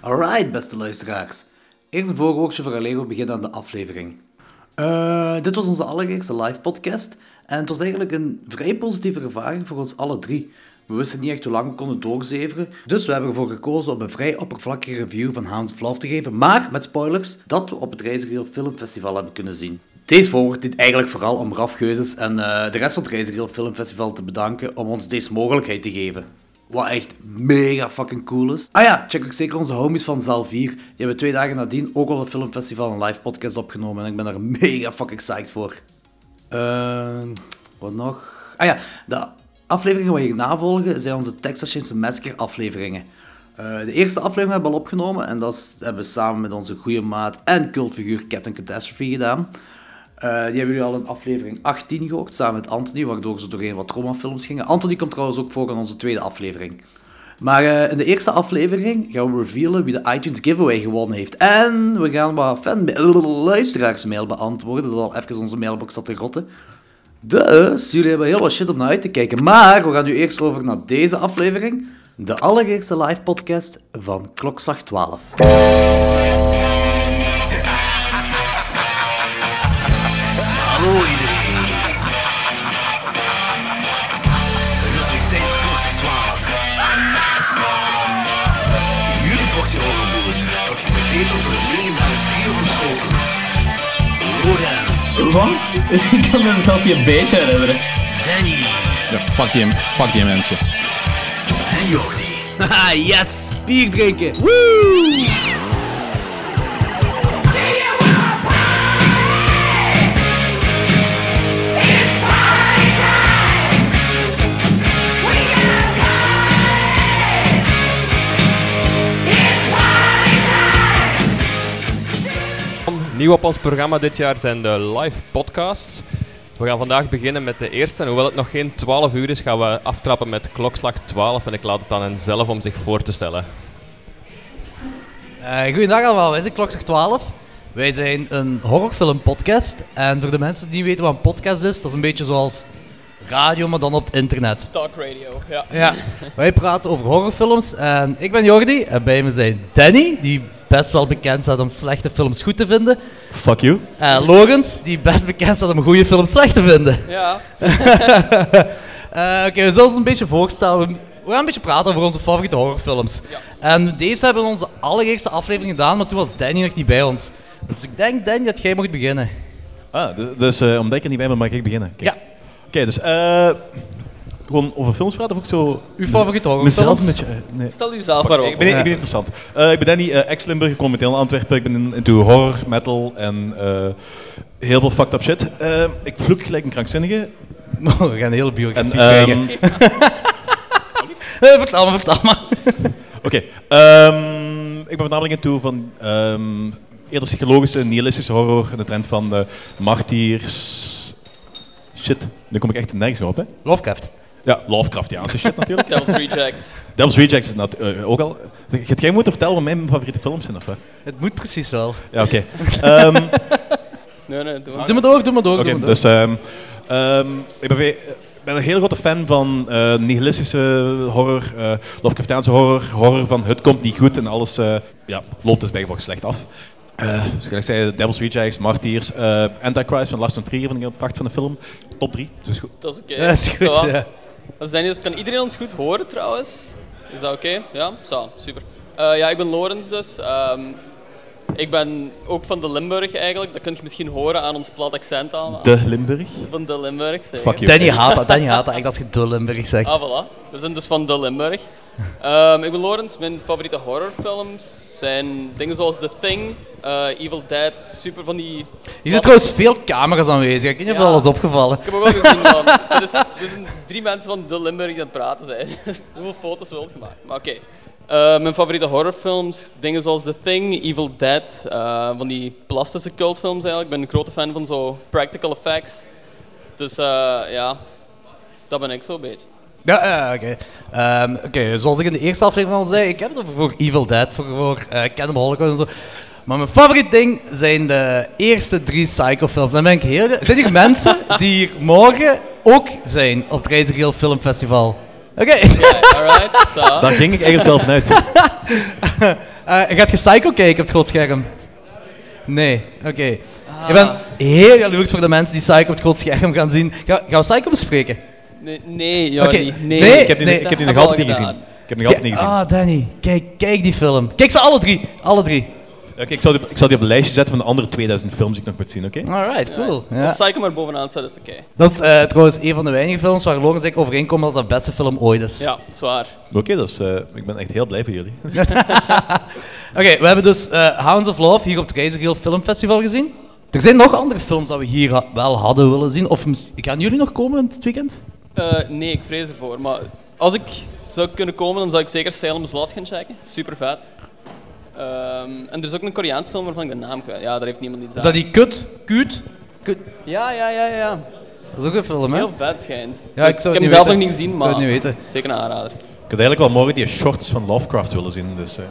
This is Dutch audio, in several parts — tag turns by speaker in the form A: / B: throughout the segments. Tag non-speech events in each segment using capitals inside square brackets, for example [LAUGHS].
A: Alright, beste luisteraars. Eerst een voorwoordje voor Alego begint aan de aflevering. Eh, dit was onze allereerste live podcast en het was eigenlijk een vrij positieve ervaring voor ons alle drie. We wisten niet echt hoe lang we konden doorzeveren, dus we hebben ervoor gekozen om een vrij oppervlakkige review van Hounds of Love te geven, maar met spoilers dat we op het Reizigreel Filmfestival hebben kunnen zien. Deze voorwoord dient eigenlijk vooral om Raf Geuzes en eh, de rest van het Reizigreel Filmfestival te bedanken om ons deze mogelijkheid te geven. Wat echt mega fucking cool is. Ah ja, check ook zeker onze homies van Zaal 4. Die hebben twee dagen nadien ook al een filmfestival en live podcast opgenomen. En ik ben daar mega fucking psyched voor. Ehm, wat nog? Ah ja, de afleveringen die je navolgen zijn onze Texas Chainsaw Massacre afleveringen. Eh, de eerste aflevering hebben we al opgenomen. En dat is- hebben we samen met onze goede maat en cultfiguur Captain Catastrophe gedaan. Eh, die hebben jullie al in aflevering 18 gehoord, samen met Anthony, waardoor ze doorheen wat traumafilms gingen. Anthony komt trouwens ook voor in onze tweede aflevering. Maar eh, in de eerste aflevering gaan we revealen wie de iTunes giveaway gewonnen heeft. En we gaan wat fan luisteraarsmail beantwoorden, dat al even onze mailbox zat te rotten. Dus jullie hebben heel wat shit om naar uit te kijken. Maar we gaan nu eerst over naar deze aflevering. De allereerste live podcast van Klokslag [LAUGHS] 12.
B: Hallo iedereen. Het is weer tijd voor boxers 12. Jullie boxen overboers. Dat geserveerd wordt door het legendare stier van Schotens. Lorenz,
C: Wat? [LAUGHS] Ik kan me zelfs niet een beetje herinneren.
B: Danny
D: Ja, fuck, die, fuck die mensen.
B: en Jordi.
A: Haha, Ah, yes! Bier drinken! Woo!
E: Nieuw op ons programma dit jaar zijn de live podcasts. We gaan vandaag beginnen met de eerste. En hoewel het nog geen 12 uur is, gaan we aftrappen met klokslag 12. En ik laat het aan hen zelf om zich voor te stellen.
A: Eh, goedendag allemaal, wij zijn Klokslag 12. Wij zijn een horrorfilmpodcast. En voor de mensen die niet weten wat een podcast is, dat is een beetje zoals radio, maar dan op het internet.
F: Talk radio, ja.
A: Ja, wij praten over horrorfilms. En ik ben Jordi en bij me zijn Danny, die best wel bekend staat om slechte films goed te vinden.
D: Fuck you.
A: En Logans, die best bekend staat om goede films slecht te vinden.
F: Ja,
A: Eh, Oké, we zullen ons een beetje voorstellen. We gaan een beetje praten over onze favoriete horrorfilms. En deze hebben we in onze allereerste aflevering gedaan, maar toen was Danny nog niet bij ons. Dus ik denk, Danny, dat jij mocht beginnen.
D: Ah, d- dus eh omdat ik er niet bij ben, mag ik beginnen. Kijk.
A: Ja.
D: Oké, dus eh gewoon over films praten of ik zo...
A: Uw favoriete horrorfilms?
D: Mezelf met je... eh, nee.
F: stel jezelf
D: Ik
F: maar
D: ben,
F: over.
D: ik ben interessant. Eh, ik ben Danny, eh ex-Limburg, ik kom meteen in Antwerpen. Ik ben in- into horror, metal en eh, heel veel fucked up shit. Eh, ik vloek gelijk een krankzinnige.
A: [LAUGHS] we gaan een hele biografie
D: En,
A: krijgen.
D: ehm,
A: Eh, vertel maar, vertel maar.
D: Oké, ehm, ik ben voornamelijk in toe van ehm, eerder psychologische, nihilistische horror en de trend van eh martiers. Shit, nu kom ik echt nergens meer op, hè?
A: Lovecraft.
D: Ja,
F: [LAUGHS]
D: Lovecraftiaanse shit natuurlijk.
F: Devil's Reject.
D: Devil's Rejects is nat- eh, ook al. Zeg, Gaat jij moeten vertellen wat mijn favoriete films zijn, of hè?
A: Het moet precies wel.
D: Ja,
F: [LAUGHS]
D: oké. Ehm,
F: Nee, nee, doe maar.
A: Doe maar door, doe maar door.
D: Oké,
A: doe maar door.
D: dus ehm, ehm, ik ben, ve- ik ben een heel grote fan van eh, nihilistische horror, eh Lovecraftiaanse horror, horror van het komt niet goed en alles eh, ja, loopt dus bijgevolg slecht af. Eh zoals ik zei, Devil's Rejects, Martyrs, eh, Antichrist van Lars von Trier vond ik een pracht van de film. Top 3, dus goed.
F: Dat is oké.
D: [LAUGHS]
A: Dat is goed,
F: Zo.
A: ja.
F: Dat is Dennis. Kan iedereen ons goed horen trouwens? Is dat oké? Ja? Zo, super. Eh, ja, ik ben Lorenz dus. Ehm, ik ben ook van de Limburg eigenlijk. Dat kun je misschien horen aan ons plat accent aan.
D: De Limburg.
F: Van de Limburg, zeker.
D: Fuck you.
A: Danny haat dat, Danny haat dat. Echt als je de Limburg zegt.
F: Ah, voilà. We zijn dus van de Limburg. Ehm, ik ben Lorenz. Mijn favoriete horrorfilms zijn dingen zoals The Thing, eh, Evil Dead, super van die...
A: Hier zijn trouwens veel camera's aanwezig. Ik weet niet of
F: Ja.
A: dat al is opgevallen.
F: Ik heb ook al gezien, man. Er, is, er zijn drie mensen van de Limburg die aan het praten zijn. [LAUGHS] Hoeveel foto's wil je gemaakt? Maar oké. Eh, mijn favoriete horrorfilms, dingen zoals The Thing, Evil Dead, eh, van die plastische cultfilms eigenlijk. Ik ben een grote fan van zo practical effects. Dus eh, ja, dat ben ik zo'n beetje.
A: Ja, ja, eh, oké. Ehm, Oké, zoals ik in de eerste aflevering al zei, ik heb het over voor Evil Dead, voor, voor eh, Cannibal Holocaust en zo. Maar mijn favoriet ding zijn de eerste drie Psycho-films. Dan ben ik heel... Zijn hier
D: [LAUGHS]
A: mensen die hier morgen ook zijn op het Reizigeel Filmfestival? Oké.
F: Alright, zo.
D: Daar ging ik eigenlijk wel vanuit.
A: [LAUGHS] Eh, gaat je Psycho kijken op het groot scherm? Nee, oké. Ik
D: Ah.
A: ben heel jaloers voor de mensen die Psycho op het groot scherm gaan zien. Ga- gaan we Psycho bespreken?
F: Nee, nee, ja,
A: Oké,
F: nee, nee.
A: nee,
D: Ik heb die,
A: nee,
D: ik heb die
F: dat
D: nog altijd
F: heb
D: niet
F: ik al
D: gezien.
F: gedaan.
D: Ik heb die nog altijd niet gezien.
A: Ah, Danny, kijk, kijk die film. Kijk ze alle drie, alle drie.
F: Ah.
D: Oké, ik, zal die, ik zal die op een lijstje zetten van de andere 2000 films die ik nog moet zien, oké?
A: Alright, cool. Ja.
F: Als Psycho maar bovenaan staat, is oké.
A: Dat is eh, trouwens een van de weinige films waar Lorenz en ik overeenkomen dat dat de beste film ooit is.
F: Ja, zwaar.
D: Oké, dus eh, ik ben echt heel blij voor jullie. [LAUGHS]
A: Oké, we hebben dus eh, Hounds of Love hier op het Razor Hill Film Festival gezien. Er zijn nog andere films dat we hier ha- wel hadden willen zien. Of mis- gaan jullie nog komen dit weekend?
F: Eh, nee, ik vrees ervoor. Maar als ik zou kunnen komen, dan zou ik zeker Salem's Lot gaan checken. Super vet. Ehm, en er is ook een Koreaans film waarvan ik de naam kwijt. Ja, daar heeft niemand iets aan.
A: Is dat die kut? Kut? Kut?
F: Ja, ja, ja, ja, ja.
A: Dat is ook een film, hè?
F: Heel vet schijnt.
A: Ja,
F: dus
A: ik
F: ik,
A: zou het
F: heb
A: niet
F: hem zelf
A: weten.
F: nog niet gezien,
A: Ik
F: maar
A: zou het niet weten.
F: zeker een aanrader.
D: Ik had eigenlijk wel morgen die shorts van Lovecraft willen zien, dus... eh.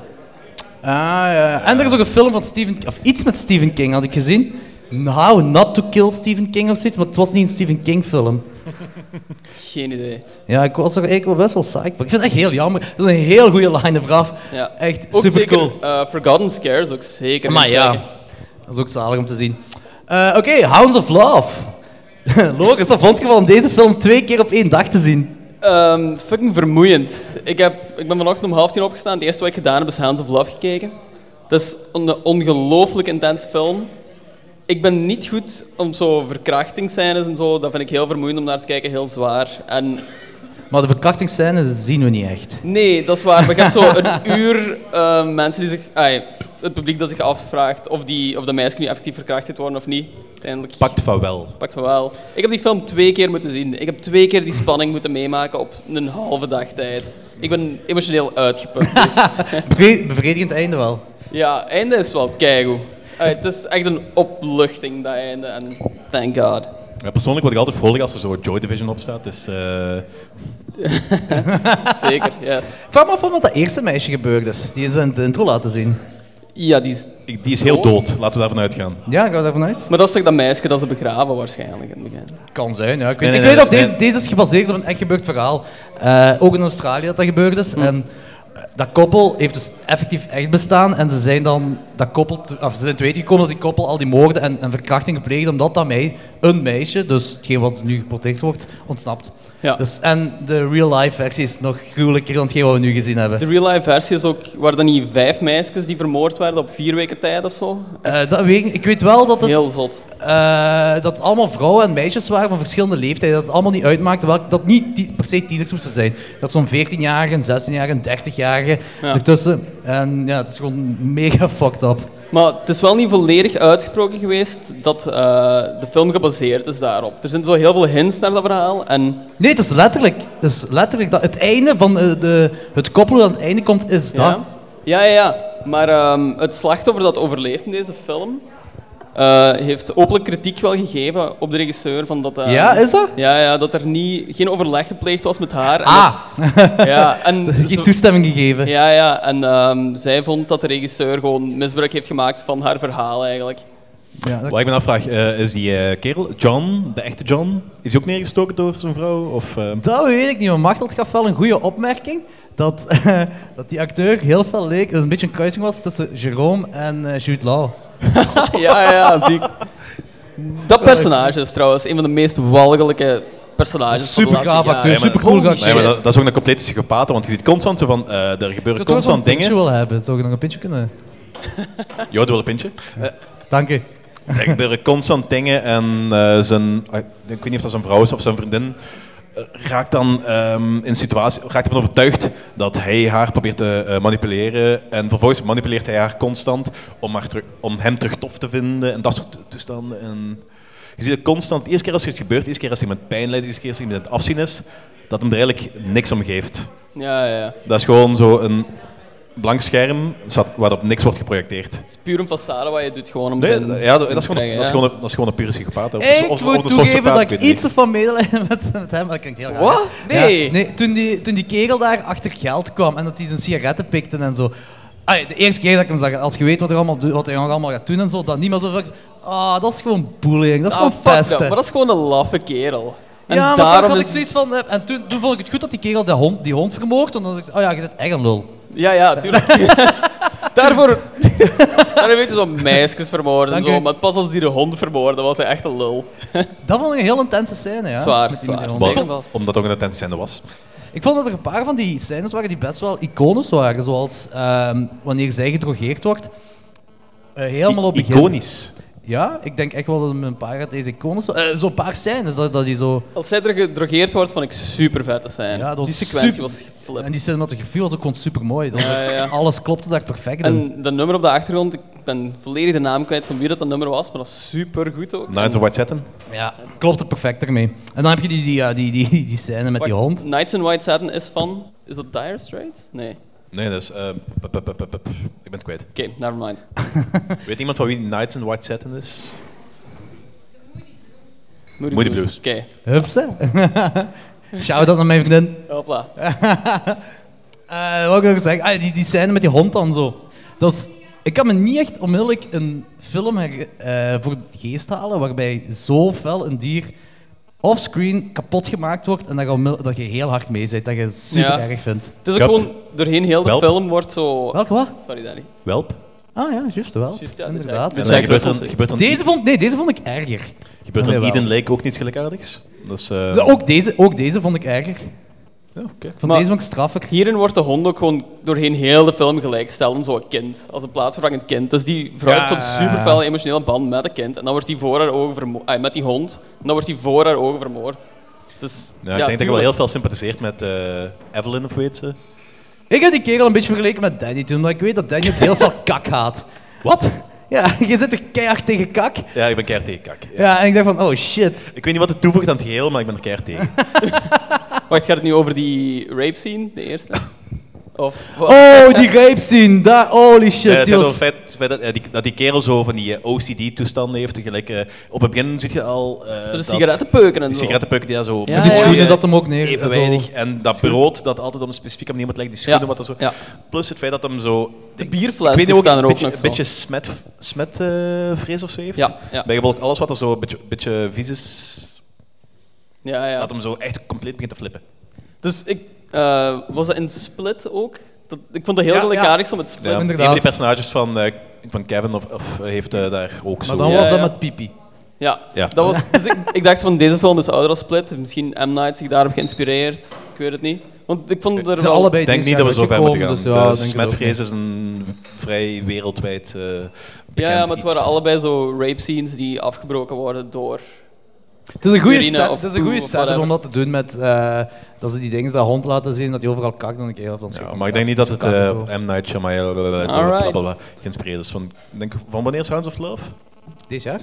A: Ah, ja. En er is ook een film van Stephen... Of iets met Stephen King had ik gezien. How Not To Kill Stephen King of zoiets, maar het was niet een Stephen King film.
F: Geen idee.
A: Ja, ik was er eigenlijk wel best wel saai voor. Ik vind het echt heel jammer. Dat is een heel goede line-up af.
F: Ja.
A: Echt
F: ook
A: super
F: zeker,
A: cool.
F: eh, Forgotten Scares ook zeker.
A: Maar
F: gaan
A: ja,
F: checken.
A: dat is ook zalig om te zien. Eh, Oké, Hounds of Love. [LAUGHS] Logisch, wat vond je van om deze film twee keer op één dag te zien?
F: Ehm, fucking vermoeiend. Ik, heb, ik ben vanochtend om half tien opgestaan. Het eerste wat ik gedaan heb is Hands of Love gekeken. Dat is een ongelooflijk intense film. Ik ben niet goed om zo verkrachtingsscènes en zo. Dat vind ik heel vermoeiend om naar te kijken, heel zwaar. En
A: Maar de verkrachtingsscènes zien we niet echt.
F: nee, dat is waar. Maar ik heb zo een uur ehm, mensen die zich. ai, het publiek dat zich afvraagt of, die, of dat meisje nu effectief verkracht heeft worden of niet. Uiteindelijk
D: Pakt van wel.
F: pakt me wel. Ik heb die film twee keer moeten zien. Ik heb twee keer die spanning moeten meemaken op een halve dag tijd. Ik ben emotioneel uitgeput.
A: Bevre- Bevredigend einde wel.
F: ja, einde is wel keigoed. Allee, het is echt een opluchting, dat einde. En thank god.
D: Ja, persoonlijk word ik altijd vrolijk als er zo Joy Division op staat, dus... eh,
F: Zeker, yes.
A: Vraag me af wat dat eerste meisje gebeurd is. Die is in de intro laten zien.
F: Ja, die is...
D: ik- die is heel dood, laten we daarvan uitgaan.
A: Ja, gaan we daarvan uit?
F: Maar dat is toch dat meisje dat ze begraven waarschijnlijk in het begin.
A: Kan zijn, ja. Ik weet,
D: Nee,
A: ik
D: nee,
A: weet dat
D: nee,
A: deze,
D: nee.
A: deze is gebaseerd op een echt gebeurd verhaal. Eh, ook in Australië dat dat gebeurd
D: Mm.
A: is. En eh, dat koppel heeft dus effectief echt bestaan. En ze zijn dan dat koppel, te- of ze zijn te weten gekomen dat die koppel al die moorden en, en verkrachtingen pleegde. Omdat dat mei, een meisje, dus hetgeen wat nu geprotect wordt, ontsnapt.
F: Ja.
A: Dus, en de real-life versie is nog gruwelijker dan hetgeen wat we nu gezien hebben.
F: De real-life versie is ook... Waren dat niet vijf meisjes die vermoord werden op vier weken tijd of zo?
A: Eh, dat weet, ik- ik weet wel dat het...
F: Heel zot.
A: Eh, dat het allemaal vrouwen en meisjes waren van verschillende leeftijden. Dat het allemaal niet uitmaakte welk, dat niet ti- per se tieners moesten zijn. Dat zo'n 14-jarige, een 16-jarige, een 30-jarige
F: Ja.
A: ertussen. En ja, het is gewoon mega fucked up.
F: Maar het is wel niet volledig uitgesproken geweest dat eh, de film gebaseerd is daarop. Er zijn zo heel veel hints naar dat verhaal. En
A: Nee, het is letterlijk, het, is letterlijk dat, het einde van eh, de, het koppel dat aan het einde komt, is dat.
F: ja, ja, ja. ja. Maar ehm, het slachtoffer dat overleeft in deze film eh, heeft openlijk kritiek wel gegeven op de regisseur van dat. eh,
A: Ja, is dat?
F: Ja, ja, dat er niet, geen overleg gepleegd was met haar. en
A: Ah, [LAUGHS]
F: dat- ja, en
A: geen
F: ze-
A: toestemming gegeven.
F: Ja, ja. En ehm, zij vond dat de regisseur gewoon misbruik heeft gemaakt van haar verhaal eigenlijk.
A: Ja, dat-
D: Waar ik me afvraag, eh, is die eh, kerel, John, de echte John, is hij ook neergestoken door zijn vrouw? Of, eh,
A: Dat weet ik niet, maar Machteld gaf wel een goede opmerking. Dat, [LAUGHS] dat die acteur heel veel leek, dat het een beetje een kruising was tussen Jerome en eh, Jude Law.
F: [LAUGHS] Ja, ja, zie ik. Dat personage is trouwens een van de meest walgelijke personages. van de
A: Super gaaf
F: laatste jaren.
A: acteur,
D: maar-
A: super cool
D: Nee, maar
A: gast.
D: dat, dat is ook een complete psychopaat, want je ziet constant zo van, eh, er gebeuren
A: Zou toch nog een
D: constant
A: pintje
D: dingen.
A: willen hebben? Zou je nog een pintje kunnen?
D: Jo, doe wel een pintje. Eh,
A: Dank je.
D: Er gebeuren constant dingen en eh, zijn, ah, ik weet niet of dat zijn vrouw is of zijn vriendin, eh, raakt dan ehm, in situatie, raakt ervan overtuigd dat hij haar probeert te eh, manipuleren en vervolgens manipuleert hij haar constant om, haar terug, om hem terug tof te vinden en dat soort toestanden. En je ziet het constant, de eerste keer als het gebeurt, de eerste keer als iemand pijn leidt, de eerste keer als iemand aan het afzien is, dat hem er eigenlijk niks om geeft.
F: Ja, ja. ja.
D: Dat is gewoon zo een blank scherm zat- waarop niks wordt geprojecteerd.
F: Het is puur een façade wat je doet gewoon om
D: Nee,
F: zijn...
D: dat- ja, dat, dat is
F: te
D: gewoon,
F: krijgen,
D: dat, is
F: ja.
D: gewoon een, dat is gewoon een pure psychopaat. Of,
A: Ik
D: of- of
A: moet
D: de
A: toegeven
D: sociopaat,
A: dat
D: ik
A: ik
D: weet niet.
A: iets van medelijden [LAUGHS] met, met hem, dat klinkt heel raar.
F: Wat? Nee.
A: Ja, nee toen, die, toen die kerel daar achter geld kwam en dat hij zijn sigaretten pikte en zo. Ai, de eerste keer dat ik hem zag, als je weet wat, er allemaal, doet- wat hij nog allemaal gaat doen en zo, dat niet meer zo vaak... Ah, dat is gewoon bullying, dat is
F: Ah,
A: gewoon
F: fuck dat,
A: pesten.
F: Maar dat is gewoon een laffe kerel. En
A: ja, maar
F: daarom
A: daarom had ik
F: is...
A: zoiets van... eh, En toen, toen vond ah [LAUGHS] ik het goed dat die kerel die hond, die hond vermoord, want dan dacht ik, oh ja, je zit echt een lul.
F: Ja, ja, tuurlijk. Daarvoor... Daar hebben we zo meisjes vermoord en
A: Dank
F: zo.
A: u.
F: Maar pas als die de hond vermoorden was hij echt een lul.
A: Dat vond ik een heel intense scène, ja.
F: Zwaar,
A: Met die- met die
F: zwaar.
A: hond.
F: Zeker wel.
D: Om- Omdat ook een intensiezender was.
A: Ik vond dat er een paar van die scènes waren die best wel iconisch waren. Zoals ehm, wanneer zij gedrogeerd wordt. Eh, helemaal op
D: I-
A: begin.
D: Iconisch.
A: Ja, ik denk echt wel dat er een paar uit deze iconisch... eh, Zo'n paar scènes, dat, dat die zo...
F: Als zij er gedrogeerd wordt, vond ik super vet te zijn.
A: Ja, dat was
F: die sequentie
A: super-
F: was geflipt.
A: En die cinematografie was ook gewoon super mooi.
F: Ja, ja, ja.
A: Alles klopte daar perfect in.
F: En dat nummer op de achtergrond, ik ben volledig de naam kwijt van wie dat, dat nummer was, maar dat is super goed ook.
D: Night of White Satin.
A: Ja, klopte perfect ermee. En dan heb je die, die, ja, die, die, die, die scène met die
F: Wa-
A: hond.
F: Nights in White Satin is van. Is dat Dire Straits? Nee. Oké,
D: Nee, dat is... eh, p- p- p- p- p- ik ben het kwijt.
F: nevermind.
D: Weet iemand van wie Nights in White Satin is?
F: Moody,
D: Moody Blues.
F: Oké,
A: Hups, hè? [LAUGHS] Shout-out naar mijn vriendin.
F: hopla.
A: [LAUGHS] Eh wat wil ik nog zeggen? Ah, die, die scène met die hond dan zo. Dat is, ik kan me niet echt onmiddellijk een film her- eh, voor de geest halen waarbij zo fel een dier offscreen kapot gemaakt wordt en dat je, onmiddell- dat je heel hard mee zit, dat je het super
F: Ja.
A: erg vindt.
F: Het is ook
D: Ja.
F: gewoon doorheen heel de
D: Wel.
F: film wordt zo.
A: Welke wat?
F: Sorry, Danny.
D: Welp.
A: Ah ja, juist wel.
F: Juist, ja, de
A: Inderdaad.
F: Jack-
D: En dan
F: de Jack
D: gebeurt
F: Russell.
D: er- gebeurt er
A: Deze vond, nee, deze vond ik erger.
D: Gebeurt
A: Ah,
D: er in
A: jawel.
D: Eden Lake ook niets gelijkaardigs? Dat is... eh,
A: Ja, Ook deze, ook deze vond ik erger.
D: ja, oké.
A: Van
F: Maar-
A: deze vond ik straffer.
F: Hierin wordt de hond ook gewoon doorheen heel de film gelijk stellen, zo'n kind. Als een plaatsvervangend kind. Dus die vrouw heeft zo'n super fel emotionele band met het kind. En dan wordt die voor haar ogen vermoord. met die hond. En dan wordt die voor haar ogen vermoord. Dus,
D: Ja, ik denk dat je wel
F: tuurlijk.
D: heel veel sympathiseert met eh, Evelyn of weet ze.
A: Ik heb die kerel een beetje vergeleken met Danny toen, omdat ik weet dat Danny ook heel veel kak haat.
D: Wat?
A: Ja, [LAUGHS] je zit er keihard tegen kak.
D: Ja, ik ben keihard tegen kak. Ja.
A: Ja, en ik dacht van, oh shit.
D: Ik weet niet wat het toevoegt aan het geheel, maar ik ben er keihard tegen.
F: Wacht, gaat het nu over die rape scene, de
D: [LAUGHS]
F: eerste? of,
A: Oh, [LAUGHS] die rape scene, daar, holy shit.
D: Eh, het
A: die
D: gaat
A: was-
D: over het feit, het feit dat, eh, die, dat die kerel zo van die eh, OCD-toestanden heeft. Gelijk, eh, op het begin zit je al... eh,
F: Zo de
D: dat-
F: sigarettenpeuken en
D: Die
F: zo.
D: sigarettenpeuken die daar zo...
F: Ja,
A: die
F: ja, ja.
A: schoenen dat hem ook neer...
D: Evenwijdig.
A: zo-
D: En dat brood dat altijd op een specifieke manier moet leggen. Die schoenen,
F: Ja,
D: wat dat zo...
F: ja.
D: Plus het feit dat hem zo...
F: De
D: ik-
F: bierflessen
D: ik weet niet,
F: staan er ook
D: een beetje,
F: nog
D: Een
F: zo.
D: beetje smet, smetvrees of zo heeft.
F: Ja, ja.
D: Bijgevolg alles wat er zo een beetje, beetje vies is,
F: Ja, ja.
D: dat hem zo echt compleet begint te flippen.
F: Dus ik... eh, was dat in Split ook? Dat, ik vond dat heel
D: Ja,
F: gelijkaardig zo met Split.
D: Ja, een van
A: inderdaad.
D: die personages van, eh, van Kevin of, of heeft eh, daar ook
A: Maar
D: zo...
A: dan
F: Ja,
A: was dat
F: ja.
A: met pipi.
F: Ja,
D: Ja.
F: Dat was, dus ik, ik dacht van deze film is ouder als Split. Misschien M. Night zich daarop geïnspireerd. Ik weet het niet. Want ik vond er
A: Ze zijn
F: wel...
A: allebei
D: Ik denk
A: dit
D: niet dat we zo
A: jaar
D: ver moeten gaan.
A: uitgekomen, Dus ja,
D: de
A: denk het ook
D: smetvrees is een vrij wereldwijd eh bekend
F: ja, ja, maar het
D: iets.
F: waren allebei zo rape scenes die afgebroken worden door...
A: niet. Het is een goede
F: urine
A: set,
F: of
A: het is een
F: poe
A: goede
F: of
A: setup
F: whatever.
A: om dat te doen met... eh, dat ze die dingen dat hond laten zien, dat die overal kakt. Dan denk ik, ja, dan
D: Ja, maar ik denk niet dat het eh, M. Night Shyamalan blablabla,
F: Alright.
D: blablabla, geïnspireerd is. Van, ik denk, van wanneer is Hounds of Love?
A: Dit jaar?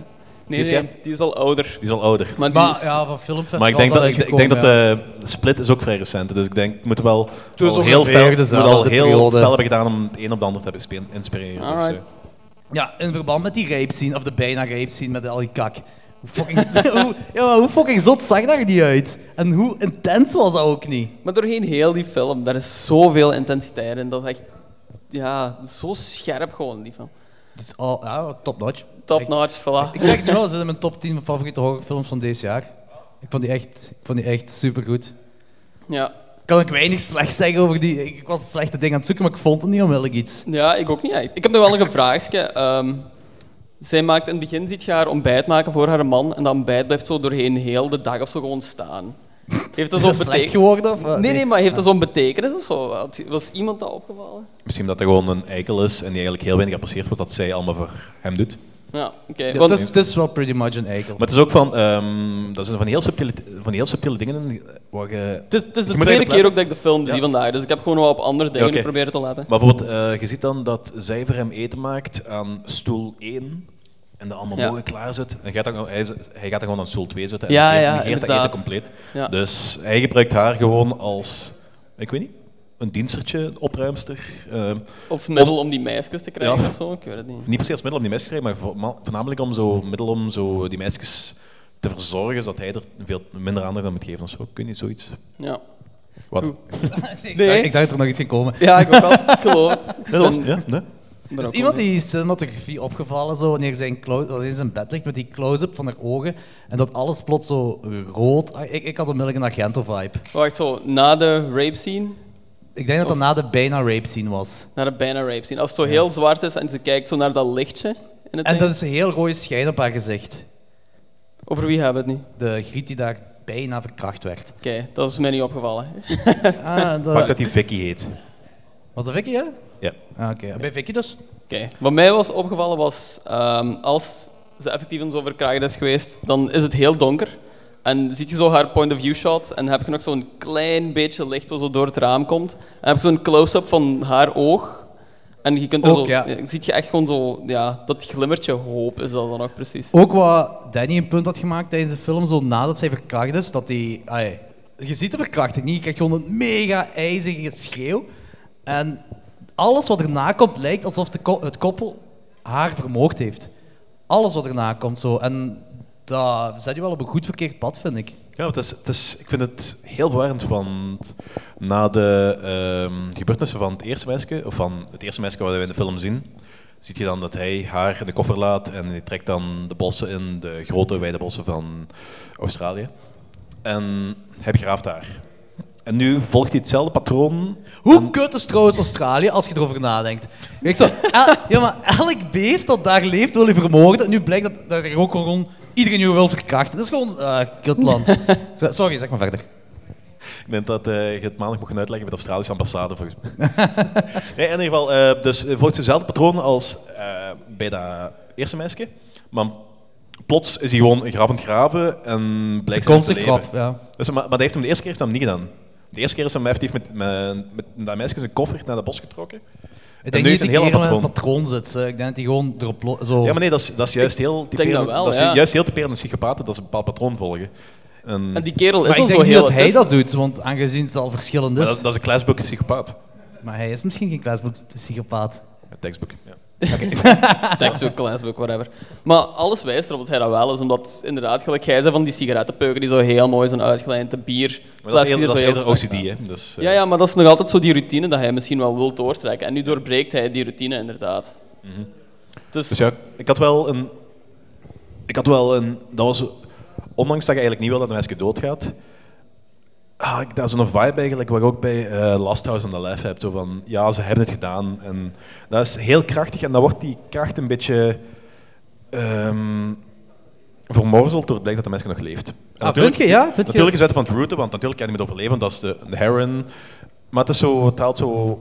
F: Nee,
D: Is
F: nee,
D: hij-
F: die is al ouder.
D: Die is al ouder.
F: Maar, die
A: Maar
F: is-
A: ja, van filmfestivals
D: Maar ik denk
A: zal
D: dat, ik, ik
A: uitgekomen,
D: denk dat
A: ja.
D: eh, Split is ook vrij recent. Dus ik denk, ik moet wel
A: is
D: al
A: ongeveer
D: heel fel, moet
A: dezelfde
D: al heel
A: periode.
D: fel hebben gedaan om het een op de ander te hebben spe- inspireren. Dus,
F: Alright.
D: eh,
A: Ja, in verband met die rape scene, of de bijna rape scene met al die kak. Hoe fucking, [LAUGHS] hoe, ja, maar hoe fucking zot zag daar die uit? En hoe intens was dat ook niet?
F: Maar doorheen heel die film, daar is zoveel intensiteit in. Dat is echt... Ja, zo scherp gewoon, die film.
A: Dus al, ja, top notch.
F: Top
A: Echt.
F: notch, voilà.
A: Ik zeg het nu al, ze zijn mijn top 10 favoriete horrorfilms van deze jaar. Ik vond die echt, ik vond die echt supergoed.
F: Ja.
A: Kan ik weinig slecht zeggen over die... Ik was een slechte ding aan het zoeken, maar ik vond het niet onmiddellijk iets.
F: ja, ik ook niet echt. Ik heb nog wel een vraagje. Ehm, zij maakt in het begin, ziet je haar ontbijt maken voor haar man. En dat ontbijt blijft zo doorheen heel de dag of zo gewoon staan. Heeft dat
A: Is
F: zo'n
A: [LAUGHS] dat slecht
F: betek-
A: geworden? Of, eh,
F: Nee, nee, maar heeft dat zo'n betekenis of zo? Had- Was iemand dat opgevallen?
D: misschien dat hij gewoon een eikel is en die eigenlijk heel weinig apprecieert wat dat zij allemaal voor hem doet.
F: Ja, oké.
A: Ja,
F: want-
A: het, is, het is wel pretty much een eikel.
D: Maar het is ook van, ehm, dat zijn van die heel subtiele, van die heel subtiele dingen eh, waar je...
F: het is, het is de
D: moet
F: tweede
D: eigenlijk
F: keer
D: letten.
F: ook dat ik de film zie vandaag, dus ik heb gewoon wel op andere dingen
D: oké.
F: proberen te laten.
D: Maar bijvoorbeeld, eh, je ziet dan dat zij voor hem eten maakt aan stoel 1 en de andere
F: Ja.
D: morgen klaar zit. En gaat dan, gewoon- hij, hij gaat dan gewoon aan stoel 2 zitten en
F: Ja,
D: negeert-
F: ja,
D: negeert dat
F: inderdaad.
D: eten compleet.
F: Ja.
D: Dus hij gebruikt haar gewoon als, ik weet niet, een dienstertje, een opruimster. eh,
F: Als middel om die meisjes te krijgen
D: Ja.
F: of zo, ik weet het niet.
D: niet per se als middel om die meisjes te krijgen, maar voorma- voornamelijk om zo, middel om zo die meisjes te verzorgen, zodat hij er veel minder aandacht aan moet geven of zo. Kun je niet zoiets?
F: Ja.
D: Wat?
F: Goed.
A: Ja,
F: Nee.
A: ik dacht dat er nog iets ging komen.
F: Ja, ik ook wel.
A: [LAUGHS]
F: Ik geloof het. Ik
D: Nee, dat
F: ben-
D: was, ja, nee.
A: Er
F: ben ook
A: is iemand
F: wel-
A: die is eh, cinematografie opgevallen zo, wanneer zij in, clo- wanneer ze in bed ligt met die close-up van haar ogen en dat alles plots zo rood... Ah, Ik, ik had onmiddellijk een Argento-vibe.
F: Wacht, zo, na de rape scene
A: Ik denk dat dat na de bijna rape scene was.
F: Naar een bijna rape scene. Als het zo heel zwart is en ze kijkt zo naar dat lichtje in het
A: En
F: ding.
A: dat is een heel rode schijn op haar gezicht.
F: Over wie hebben we het niet?
A: De griet die daar bijna verkracht werd.
F: Oké, dat is mij niet opgevallen.
A: Ah,
D: Pak
A: dat...
D: dat die Vicky heet.
A: Was dat Vicky, hè?
D: Ja.
A: Ah, Oké, bij Vicky dus.
F: Oké, wat mij was opgevallen was, ehm, als ze effectief een zo verkracht is geweest, dan is het heel donker. En ziet je zo haar point of view shots en heb je nog zo'n klein beetje licht wat zo door het raam komt. En heb je zo'n close-up van haar oog. En je kunt er
A: Ook,
F: zo, eh,
A: ja.
F: ziet je echt gewoon zo, ja, dat glimmertje hoop is dat dan ook precies.
A: Ook wat Danny een punt had gemaakt tijdens de film, zo nadat zij verkracht is, dat die... ai, je ziet de verkrachting niet, je krijgt gewoon een mega ijzige schreeuw. En alles wat erna komt lijkt alsof de ko- het koppel haar vermoord heeft. Alles wat erna komt zo. En dat zet je wel op een goed verkeerd pad, vind ik.
D: Ja, het is, het is, ik vind het heel verwarrend, want na de ehm, gebeurtenissen van het eerste meisje, of van het eerste meisje wat we in de film zien, ziet je dan dat hij haar in de koffer laat en hij trekt dan de bossen in, de grote wijde bossen van Australië. En hij begraaft haar. En nu volgt hij hetzelfde patroon.
A: Hoe kut is trouwens Australië als je erover nadenkt? Ik zo, el- ja, maar elk beest dat daar leeft wil je vermoorden. Nu blijkt dat, dat er ook gewoon iedereen je wil verkrachten. Dat is gewoon eh kutland. Zo- Sorry, zeg maar verder.
D: Ik denk dat eh, je het maandag moet gaan uitleggen bij de Australische ambassade, volgens mij. [LAUGHS] nee, in ieder geval, eh, dus eh, volgt hetzelfde patroon als eh, bij dat eerste meisje. Maar plots is hij gewoon een graf aan het graven en blijkt hij
A: Komt
D: nog te
A: zich
D: leven.
A: graf, ja.
D: Dus, maar, maar dat heeft hem de eerste keer heeft hij hem niet gedaan. De eerste keer is hij hem effectief met, met, met dat meisje zijn koffer naar dat bos getrokken.
F: Oh.
A: Ik
D: En
A: denk
D: nu
A: niet
D: heeft
A: dat
D: een
A: die
D: heel
A: kerel in een
D: patroon.
A: patroon zit. ze. Ik denk dat die gewoon erop lo- zo...
D: Ja, maar nee, dat is, dat is juist heel typerend.
F: dat wel,
D: dat is
F: ja.
D: juist heel typerend aan psychopaten dat ze een bepaald patroon volgen. En,
F: En die kerel is
A: Maar
F: al
A: ik
F: zo
A: denk niet
F: heel
A: dat hij
F: attent.
A: dat doet, want aangezien het al verschillend
F: dus-
D: maar
A: is.
D: dat, dat is een klasboek psychopaat.
A: Maar hij is misschien geen klasboek psychopaat. Ah,
D: Een tekstboek. Ja.
F: Textbook, classbook, whatever. Maar alles wijst erop dat hij dat wel is, omdat inderdaad, gelijk jij zei van die sigarettenpeuken die zo heel mooi zijn uitgelijnd, de bier.
D: Maar dat is eerder,
F: zo
D: dat is
F: heel
D: eerder
F: strak
D: OCD,
F: staan.
D: hè? Dus, eh,
F: Ja, ja, maar dat is nog altijd zo die routine dat hij misschien wel wil doortrekken. En nu doorbreekt hij die routine inderdaad. Dus,
D: Dus ja, ik had wel een. Ik had wel een. Dat was. Ondanks dat je eigenlijk niet wil dat een meisje doodgaat. Ah, ik, dat is een vibe eigenlijk waar je ook bij eh, Last House on the Left hebt. Zo van, ja, ze hebben het gedaan. En dat is heel krachtig en dan wordt die kracht een beetje ehm, vermorzeld door het blijkt dat de meisje nog leeft. En natuurlijk-
A: Ah, vind je, ja? Vind je?
D: natuurlijk is het van het route, want natuurlijk kan je niet meer overleven, want dat is de, de heron. Maar het, is zo, het haalt zo...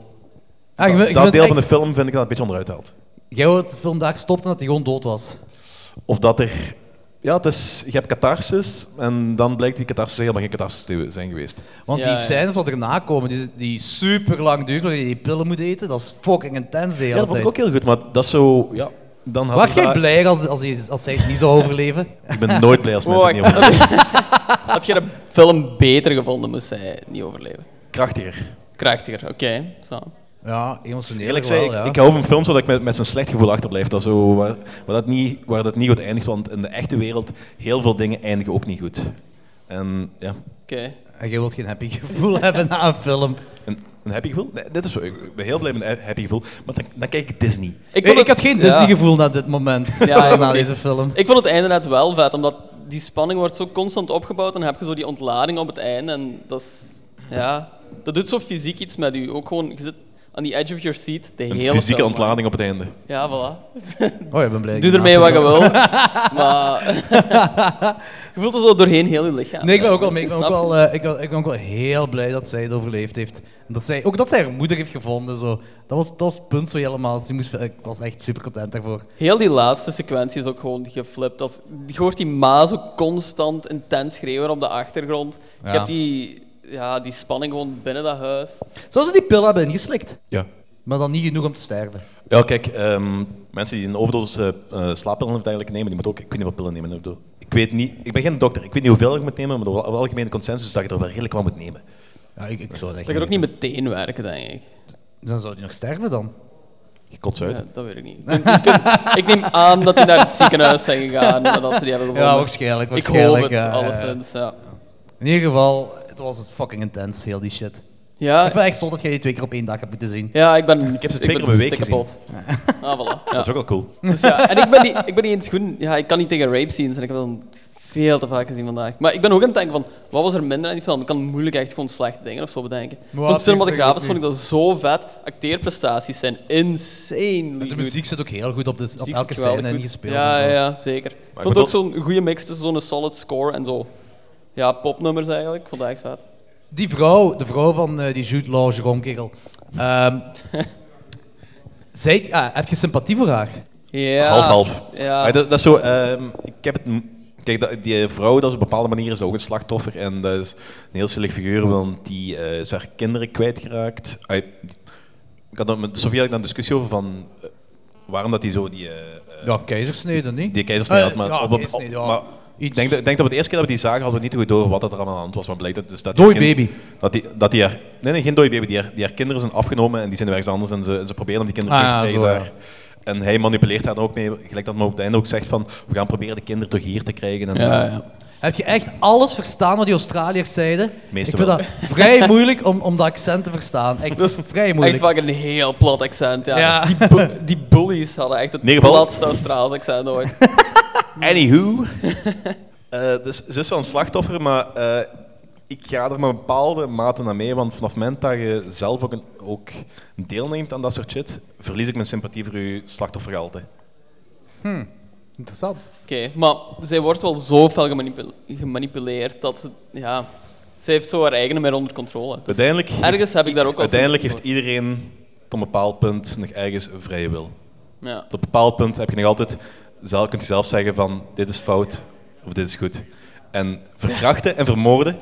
A: Ah, je- je
D: dat
A: vindt
D: deel van de
A: echt-
D: film vind ik dat een beetje onderuit haalt.
A: Jij wou dat de film daar stopt en dat hij gewoon dood was.
D: Of dat er... Ja, het is, je hebt catharsis en dan blijkt die catharsis helemaal geen catharsis te zijn geweest.
A: Want
F: Ja,
A: die
F: ja.
A: scènes wat erna komen, die, die super lang duren, dat je die pillen moet eten, dat is fucking intens de hele
D: Ja, dat vond ik
A: tijd.
D: ook heel goed, maar dat is zo... Ja, dan had
A: Wacht
D: ik
A: jij
D: dat-
A: blij als, als, hij- als zij het niet zou overleven?
D: Ik ben nooit blij als mensen
F: Oh,
D: het
F: ik-
D: niet overleven.
F: had je de film beter gevonden, moest hij niet overleven.
D: Krachtiger.
F: Krachtiger, oké. zo.
A: [LAUGHS] Ja, emotioneel
D: Eerlijk
A: wel,
D: gezegd, ik,
A: ja.
D: ik hou van films zodat ik met, met zo'n slecht gevoel achterblijf. Dat is zo, waar, waar, dat niet, waar dat niet goed eindigt, want in de echte wereld, heel veel dingen eindigen ook niet goed. En ja,
F: Oké.
A: En jij wilt geen happy gevoel [LAUGHS] hebben na een film.
D: een, een happy gevoel? Nee, dit is zo, ik ben heel blij met een happy gevoel, maar dan, dan kijk ik Disney.
A: Ik,
F: vond
A: ik
F: het-
A: had geen
F: ja.
A: Disney-gevoel na dit moment,
F: Ja,
A: [LAUGHS]
F: ik
A: na
F: ook
A: deze
F: niet.
A: film.
F: Ik vond het einde net wel vet, omdat die spanning wordt zo constant opgebouwd en dan heb je zo die ontlading op het einde. En dat is... Ja, dat doet zo fysiek iets met u. Ook gewoon, je zit aan die edge of your seat de
D: Een
F: hele
D: fysieke
F: film.
D: ontlading op het einde.
F: Ja, voilà.
A: Oh, ik ben blij. dat
F: Doe
A: ik
F: ermee wat
A: naast zat.
F: je wilt.
A: [LAUGHS]
F: maar je voelt het zo doorheen heel je lichaam.
A: Nee, ik ben ook wel, mee. ik ben ook
F: Snap je?
A: wel, eh, ik ben, ik ben ook wel heel blij dat zij het overleefd heeft. En dat zij, ook dat zij haar moeder heeft gevonden. Zo. Dat, was, dat was het punt zo helemaal. Ze moest, ik was echt super content daarvoor.
F: Heel die laatste sequentie is ook gewoon geflipt. Als, je hoort die ma zo constant intens schreeuwen op de achtergrond. Je
A: Ja.
F: hebt die, ja, die spanning gewoon binnen dat huis.
A: Zou ze die pil hebben ingeslikt,
D: Ja.
A: maar dan niet genoeg om te sterven.
D: Ja, kijk, ehm, mensen die een overdosis eh, eh, slaappillen uiteindelijk nemen, die moeten ook, ik weet niet wat pillen nemen. Ik bedoel, Ik weet niet, ik ben geen dokter, ik weet niet hoeveel je moet nemen, maar de wel- algemene consensus is dat je er wel redelijk wat moet nemen.
A: Ja, ik, ik zou het echt
F: Dat gaat ook niet meteen werken, denk ik.
A: Dan zou die nog sterven dan.
D: Je kots uit.
F: Ja, dat weet ik niet. Ik, ik- ik neem aan dat die naar het ziekenhuis zijn gegaan nadat ze die hebben gevonden.
A: Ja, waarschijnlijk.
F: ik hoop
A: waarschijnlijk
F: het,
A: ja, ja, ja.
F: alleszins. Ja.
A: In ieder geval, het was fucking intens, heel die shit. ik
F: Ja,
A: vind echt zo dat jij die twee keer op één dag hebt moeten zien.
F: ja, ik ben Ik
D: heb ze twee
F: ben
D: keer op een week
F: stikkepot. Ah, voilà. Ja.
D: Dat is ook wel cool.
F: Dus ja, en ik ben niet, ik ben niet eens goed. Ja, ik kan niet tegen rape scenes en ik heb dan veel te vaak gezien vandaag. Maar ik ben ook aan het denken van, wat was er minder aan die film? Ik kan moeilijk echt gewoon slechte dingen of zo bedenken.
A: Maar
F: Tot
A: wat is er
F: cinematografisch
A: ook
F: vond ik dat zo vet. Acteerprestaties zijn insanely
A: De
F: goed.
A: muziek zit ook heel goed op, de, op
F: Muziek
A: elke
F: is geweldig
A: scène
F: goed.
A: ingespeeld.
F: Ja,
A: en zo.
F: ja, ja, zeker. Ik vond
D: bedoel-
F: ook zo'n goede mix tussen zo'n solid score en zo. Ja, popnummers eigenlijk. Ik vond dat echt vet.
A: Die vrouw, de vrouw van eh, die Jude Law, Jerome kerel. ehm,
F: [LAUGHS]
A: zij, ah, heb je sympathie voor haar?
F: Ja.
D: Half-half.
F: Ja.
D: Maar dat, dat is zo, ehm, ik heb het... m- Kijk, dat, die vrouw dat is op een bepaalde manier is ook een slachtoffer. En dat is een heel slecht figuur, want die eh, is haar kinderen kwijtgeraakt. Uit, ik had daar met Sofia had ik daar een discussie over van... eh, waarom dat die zo die... eh, eh,
A: Ja, keizersnede, niet?
D: die keizersnede
A: Eh,
D: had, maar...
A: ja,
D: op, op-
A: keizersnede, ja.
D: maar ik
A: Iets.
D: denk, dat- ik denk dat we de eerste keer dat we die zagen, hadden we niet goed door wat dat er allemaal aan de hand was. Maar blijkt dat, dus dat die
A: Dooi
D: kind-
A: baby.
D: Dat die, dat die haar, nee, nee, geen dooi baby. Die haar, die haar kinderen zijn afgenomen en die zijn ergens anders. En ze, en ze proberen om die kinderen
A: Ah,
D: terug te
A: ja,
D: krijgen
A: zo,
D: daar. En hij manipuleert daar dan ook mee. Gelijk dat men op het einde ook zegt van, we gaan proberen de kinderen toch hier te krijgen. En
F: Ja, ja.
A: Heb je echt alles verstaan wat die Australiërs zeiden?
D: Meeste
A: ik vind
D: wel.
A: dat vrij moeilijk om, om dat accent te verstaan. Echt vrij
F: Echt
A: moeilijk.
F: vaak een heel plat accent, ja.
A: Ja.
F: Die, bu- die bullies hadden echt het
D: In ieder geval-
F: platste Australisch accent ooit.
D: Anywho. Eh, dus ze is wel een slachtoffer, maar eh, ik ga er maar een bepaalde mate naar mee. Want vanaf het moment dat je zelf ook, een, ook deelneemt aan dat soort shit, verlies ik mijn sympathie voor je slachtoffergehalte.
A: Interessant.
F: Oké, maar zij wordt wel zo fel gemanipule- gemanipuleerd dat... ze- Ja, zij heeft zo haar eigen meer onder controle. Dus
D: Uiteindelijk heeft-
F: ergens heb ik daar ook al
D: Uiteindelijk heeft
F: sympathie
D: iedereen tot een bepaald punt nog ergens een vrije wil.
F: voor. Ja.
D: Tot een bepaald punt heb je nog altijd zelf, kunt je zelf zeggen van dit is fout of dit is goed. En verkrachten en vermoorden,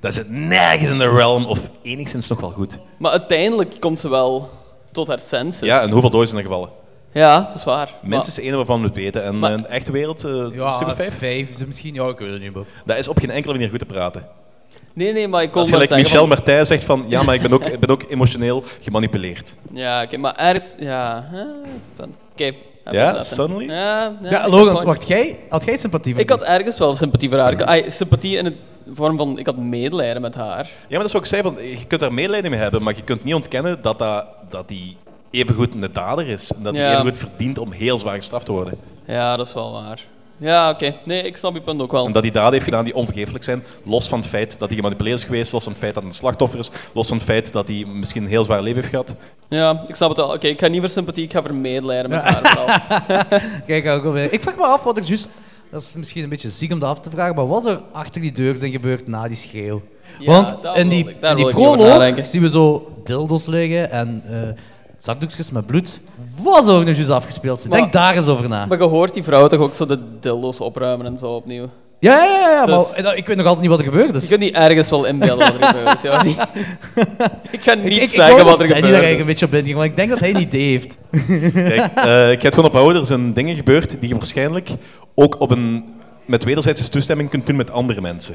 D: dat zit nergens in de realm of enigszins nog wel goed.
F: Maar uiteindelijk komt ze wel tot haar senses.
D: Ja, en hoeveel doden zijn er gevallen?
F: Ja, dat is waar.
D: Minstens één waarvan we het weten. En
F: Maar-
D: eh, in de echte wereld, eh een stuk
A: Ja,
D: of vijf,
A: vijf dus misschien. Ja, ik weet het niet. maar-
D: dat is op geen enkele manier goed te praten.
F: Maar- nee, nee, maar ik kon
D: Als
F: maar
D: gelijk
F: zeggen...
D: Michel
F: van-
D: Martijn zegt van ja, maar ik ben ook, ik ben ook emotioneel gemanipuleerd.
F: Ja, oké, maar ergens... Ja, hè, dat is spannend. Oké. heb
D: Ja,
F: ik dat, hè.
D: suddenly?
F: Ja, ja,
A: Ja,
F: ik-
A: Logans, wacht, jij, had jij sympathie voor
F: Ik had ergens wel sympathie voor haar. Ik- ai, sympathie in de vorm van... Ik had medelijden met haar.
D: Ja, maar dat is wat ik zei, van, je kunt daar medelijden mee hebben, maar je kunt niet ontkennen dat, dat, dat die evengoed een dader is. En dat die
F: Ja.
D: evengoed verdient om heel zwaar gestraft te worden.
F: Ja, dat is wel waar. Ja, oké. Nee, ik snap je punt ook wel.
D: En dat hij daden heeft gedaan die onvergeeflijk zijn, los van het feit dat hij gemanipuleerd is geweest, los van het feit dat hij een slachtoffer is, los van het feit dat hij misschien een heel zwaar leven heeft gehad.
F: Ja, ik snap het al. Oké, ik ga niet voor sympathie, ik ga voor medelijden met haar
A: [LAUGHS]
F: vooral.
A: Kijk, ook alweer. ik vraag me af wat ik juist... Dat is misschien een beetje ziek om dat af te vragen, maar wat is er achter die deur zijn gebeurd na die schreeuw?
F: Ja, daar
A: Want in
F: wil
A: die,
F: ik- daar
A: in die
F: wil ik niet over
A: proloog
F: nadenken.
A: zien we zo dildo's liggen en eh, zakdoekjes met bloed. Wat zou er nu juist afgespeeld zijn?
F: Maar-
A: Denk daar eens over na.
F: Maar je hoort die vrouw toch ook zo de dildo's opruimen en zo opnieuw.
A: Ja, ja, ja, ja, maar
F: Dus-
A: eh, ik weet nog altijd niet wat er gebeurd
F: Je
A: is.
F: kunt niet ergens wel inbeelden
A: [LAUGHS]
F: wat er gebeurd is, ja. Ik ga niet
A: ik,
F: zeggen
A: wou
F: wat er
A: dat Danny daar
F: gebeurd
A: eigenlijk
F: is.
A: een beetje op inging, want ik denk dat hij een idee heeft.
D: Kijk, eh, ik ga het gewoon ophouden, er zijn dingen gebeurd die je waarschijnlijk ook op een, met wederzijdse toestemming kunt doen met andere mensen.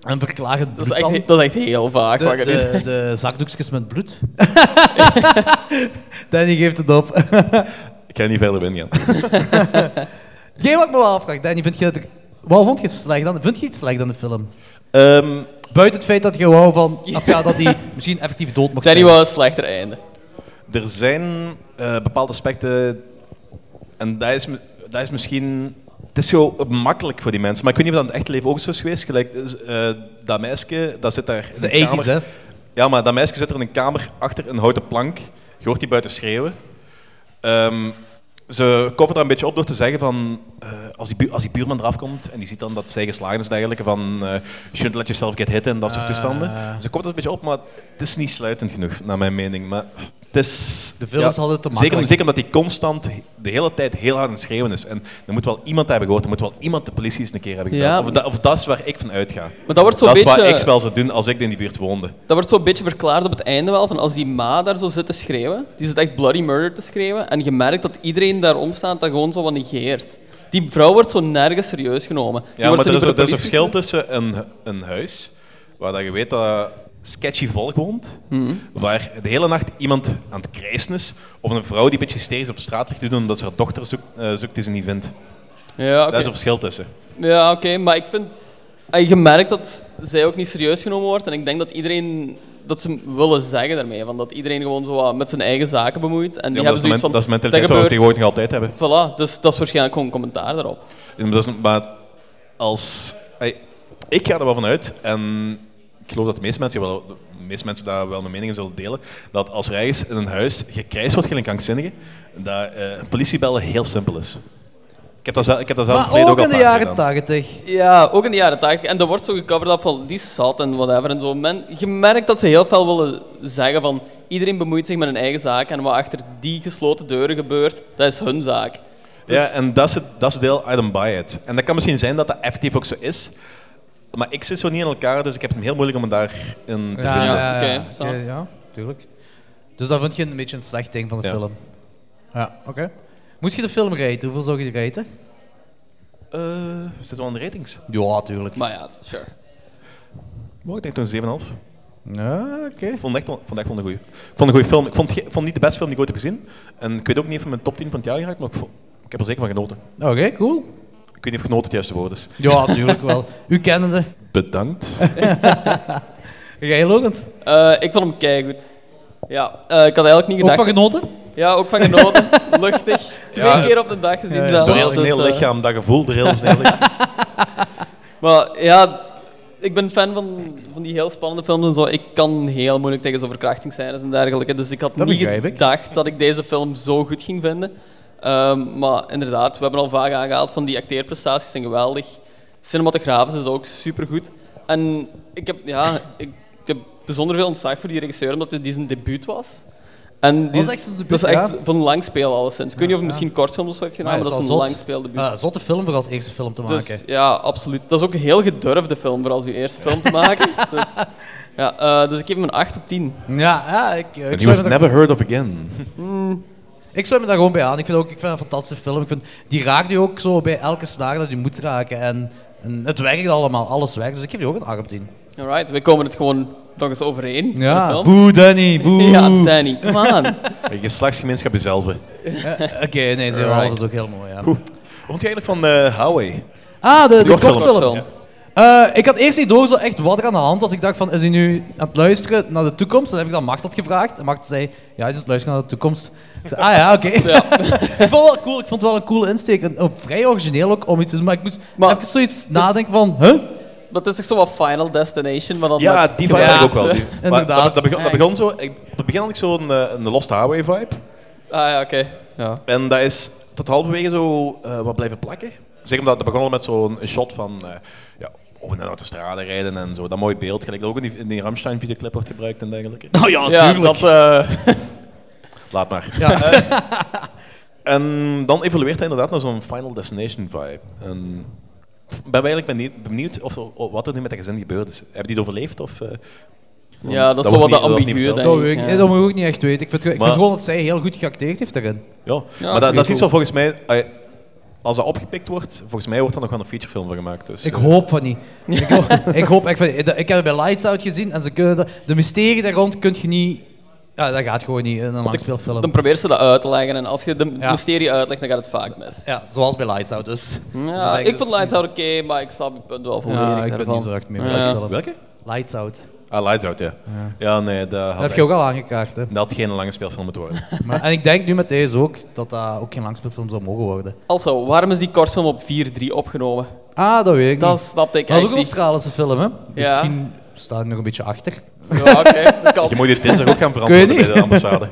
A: Een verklagend bloed
F: Dat is, echt,
A: dan.
F: he- dat is echt heel vaak. wat
A: de,
F: je nu
A: [LAUGHS]
F: zegt.
A: de, de zakdoekjes met bloed. Danny geeft het op.
D: Ik ga niet verder binnen gaan.
A: Jij wat ik me wel afvraag, Danny, vind je dat er... Wat vond je slecht aan? Vind je iets slecht aan de film?
D: Ehm,
A: Buiten het feit dat je wou van... Of ja, dat hij misschien effectief dood mocht
F: Danny
A: zijn.
F: wou een slechter einde.
D: Er zijn eh, bepaalde aspecten. En dat is, mi- dat is misschien. Het is zo makkelijk voor die mensen. Maar ik weet niet of dat in het echte leven ook zo is geweest. Gelijk, dus, eh, dat meisje, dat zit daar.
A: Het is de 80s, hè?
D: Ja, maar dat meisje zit er in een kamer achter een houten plank. Je hoort die buiten schreeuwen. Ehm, ze koffert daar een beetje op door te zeggen van... eh, als, die bu- als die buurman eraf komt en die ziet dan dat zij geslagen is en dergelijke, van... eh shouldn't let yourself get hit en dat soort
A: Ah.
D: toestanden. Ze koffert dat een beetje op, maar het is niet sluitend genoeg, naar mijn mening. Maar het is...
A: De films hadden het te
D: zeker,
A: makkelijk.
D: zeker omdat hij constant de hele tijd heel hard aan het schreeuwen is. En er moet wel iemand hebben gehoord, er moet wel iemand de politie eens een keer hebben
F: Ja,
D: gedaan. of,
F: maar-
D: dat- of dat is waar ik van uitga.
F: Maar dat wordt zo'n
D: Dat is
F: beetje...
D: wat ik wel zou doen als ik in die buurt woonde.
F: Dat wordt zo'n beetje verklaard op het einde wel, van als die ma daar zo zit te schreeuwen, die zit echt bloody murder te schreeuwen, en je merkt dat iedereen daar omstaat dat gewoon zo wat negeert. Die vrouw wordt zo nergens serieus genomen. Die
D: Ja, maar
F: wordt
D: er
F: zo
D: is,
F: niet
D: er
F: door
D: is
F: de
D: een
F: politie
D: verschil tussen een, een huis waar dat je weet dat sketchy volk woont,
F: Mhm.
D: waar de hele nacht iemand aan het krijsen is, of een vrouw die een beetje hysterisch op straat ligt te doen omdat ze haar dochter zoekt, eh, zoekt die ze niet vindt.
F: gezien. Ja, oké.
D: Daar is een verschil tussen.
F: Ja, oké, maar ik vind... eh, Je merkt dat zij ook niet serieus genomen wordt, en ik denk dat iedereen... Dat ze willen zeggen daarmee, van dat iedereen gewoon zo wat met zijn eigen zaken bemoeit. En
D: Ja, maar dat,
F: die
D: is
F: hebben
D: de
F: zoiets
D: men-
F: van...
D: dat is de mentaliteit
F: dat
D: waar we
F: gebeurt.
D: tegenwoordig nog altijd hebben.
F: Voilà, dus dat is waarschijnlijk gewoon een commentaar daarop.
D: Ja, maar Dat is, maar als... ey, ik ga er wel van uit, en ik geloof dat de meeste mensen, wel, de meeste mensen daar wel mijn meningen zullen delen, dat als er ergens in een huis gekrijsd wordt gelijk krankzinnige, dat eh, politie bellen heel simpel is. Ik heb dat, zelf- ik heb dat zelf in het
A: Maar
D: verleden
A: ook in
D: al
A: de
D: een paar
A: jaren
D: keer gedaan.
A: tachtig.
F: Ja, ook in de jaren 80. En er wordt zo gecoverd op van die zat en whatever en zo. Men, je merkt dat ze heel veel willen zeggen van iedereen bemoeit zich met hun eigen zaak en wat achter die gesloten deuren gebeurt, dat is hun zaak. Dus-
D: Ja, en dat is het dat is het deel, I don't buy it. En dat kan misschien zijn dat dat effectief ook zo is, maar ik zit zo niet in elkaar, dus ik heb het heel moeilijk om me daarin te
A: Ja,
D: vinden.
A: ja, ja, ja.
F: Oké, zo.
A: eh, Oké, ja, tuurlijk. Dus dat vind je een beetje een slecht ding van de
D: Ja.
A: film. Ja, oké. Moest je de film raten? Hoeveel zou je die raten?
D: Eh, zit wel in de ratings.
A: Ja, tuurlijk.
F: Maar ja, sure.
D: Oh, ik denk toen 7,5.
A: Ja, oké.
D: Ik vond het echt, wel- ik vond het echt wel een goeie. Ik vond een goede film. Ik vond, het ge- ik vond het niet de beste film die ik ooit heb gezien. En ik weet ook niet of het in mijn top 10 van het jaar geraakt, maar ik, vond- ik heb er zeker van genoten.
A: Oké, cool.
D: Ik weet niet of genoten het juiste woord is.
A: Ja, tuurlijk wel. U kennende.
D: Bedankt.
A: [LAUGHS] Jij, Logans?
F: Eh, ik vond hem keigoed. Ja, eh, ik had eigenlijk niet
A: Ook
F: gedacht...
A: van genoten?
F: ja, ook van
A: [LAUGHS]
F: genoten. Luchtig. Twee
D: Ja.
F: keer op de dag gezien
A: Ja, ja.
F: zelfs.
D: De heel
F: Dus,
D: snel
F: eh,
D: lichaam, dat gevoel, de heel snel lichaam.
F: Maar ja, ik ben fan van, van die heel spannende films en zo. Ik kan heel moeilijk tegen zo'n verkrachtingsscènes en dergelijke. Dus ik had
A: Dat
F: niet
A: begrijp ik.
F: gedacht dat ik deze film zo goed ging vinden. Ehm, maar inderdaad, we hebben al vaak aangehaald van die acteerprestaties zijn geweldig. Cinematografisch is ook supergoed. En ik heb, ja, ik, ik heb bijzonder veel ontzag voor die regisseur, omdat dit die zijn debuut was. En die,
A: Was Oh, echt zijn debuut,
F: dat is echt
A: ja.
F: van lang speel alleszins. Ik weet niet of hij
A: Ja, ja.
F: misschien kortfilms of zo heeft gedaan, maar, dat is een lang speeldebuut.
A: Ah, zotte film voor als eerste film te maken.
F: Dus ja, absoluut. Dat is ook een heel gedurfde film voor als je eerste film te
A: [LAUGHS]
F: maken. dus, ja, eh, dus ik geef hem een 8 op 10.
A: Ja, ja ik, eh, ik,
D: And he
A: sluit
D: was
A: me daar,
D: never heard of again. [LAUGHS]
A: ik sluit me daar gewoon bij aan. Ik vind, ook, ik vind het een fantastische film. Ik vind, die raakt je ook zo bij elke snaar dat je moet raken. En, en het werkt allemaal, alles werkt. Dus ik geef die ook een 8 op 10.
F: Alright, we komen het gewoon nog eens overeen. de film.
A: boe Danny, boe.
F: [LAUGHS] Ja, Danny, come on.
D: Een Geslachtsgemeenschap is zelf. hè.
A: Oké, nee, zijn half is ook heel mooi, ja.
D: Oeh. Wat vond je eigenlijk van eh Howie?
A: Ah, de, de
D: kortfilm.
A: kortfilm. Eh, ik had eerst niet door zo echt wat er aan de hand was. Ik dacht van, is hij nu aan het luisteren naar de toekomst? Dan heb ik dan Machteld gevraagd. En Machteld zei, ja, hij is aan het luisteren naar de toekomst. Ik zei, ah ja, oké. [LAUGHS] ik vond het wel cool. Ik vond het wel een coole insteek. En ook vrij origineel ook om iets te doen. Maar ik moest
F: Maar-
A: even zoiets nadenken van, huh?
F: Dat is toch zo wat Final Destination? Maar dan
D: Ja,
F: met
D: die vibe
F: geweld.
D: had ik ook wel. [LAUGHS] Die, maar
A: inderdaad.
D: Dat, dat, begon, dat begon zo... Ik, dat begon eigenlijk zo'n eh, een Lost Highway vibe.
F: Ah ja, oké. Ja.
D: En dat is tot halverwege zo eh, wat blijven plakken. Zeg omdat dat begon al met zo'n shot van eh ja, over een autostrade rijden en zo. Dat mooi beeld, gelijk dat ook in die, in die Rammstein videoclip wordt gebruikt en dergelijke.
F: Oh ja, natuurlijk.
D: Laat maar. [LAUGHS] Eh, en dan evolueert hij inderdaad naar zo'n Final Destination vibe. En ik ben eigenlijk benieuwd, benieuwd of, of wat er nu met dat gezin gebeurd is. Hebben die het overleefd? Of, eh, want
F: ja, dat is zo wat
D: wordt
F: de
D: niet- dat wordt niet
F: ambiguë,
D: verteld.
F: denk
A: Dat,
F: ik.
A: weet ik,
F: ja.
A: nee, dat moet ik ook niet echt weten. Ik vind, ik
D: Maar-
A: vind gewoon dat zij heel goed geacteerd heeft daarin.
D: Ja,
F: Ja,
D: maar dat, dat is
F: goed.
D: iets wat volgens mij... eh, als dat opgepikt wordt, volgens mij wordt daar nog wel een featurefilm van gemaakt. Dus,
A: Ik
D: eh,
A: hoop van
F: [LAUGHS]
A: niet. Ik hoop, ik hoop echt van niet. Ik heb het bij Lights Out gezien en ze kunnen dat, de mysterie daar rond kun je niet... Ja, dat gaat gewoon niet in een langspeelfilm.
F: Dan probeer ze dat uit te leggen. En als je de
A: Ja.
F: mysterie uitlegt, dan gaat het vaak mis.
A: Ja, zoals bij Lights Out dus. Dus
F: Ja,
A: ben
F: ik
A: dus
F: vond Lights Out oké, maar ik snap je punt wel
A: niet-
F: volledig
A: Ja, ik ben
F: daarvan.
A: niet zo echt mee met
F: Ja.
A: die film.
D: Welke?
A: Lights Out.
D: Ah, Lights Out, ja. Ja, nee, dat
A: Dat
D: had,
A: heb je ook al aangekaart, hè.
D: dat had geen lange speelfilm moeten worden.
A: Maar, en ik denk nu met deze ook, dat dat ook geen langspeelfilm zou mogen worden.
F: Also, waarom is die kortfilm op 4-3 opgenomen?
A: Ah, dat weet ik
F: Dat
A: niet.
F: snapte ik
A: Dat is ook
F: echt
A: een
F: niet.
A: Australische film, hè. Dus
F: Ja.
A: misschien staat ik nog een beetje achter.
F: Ja, [LAUGHS] oké, dat
D: Je
F: kan.
D: moet [LAUGHS] dit dinsdag ook gaan veranderen
A: Ik weet
D: bij
A: niet.
D: de ambassade.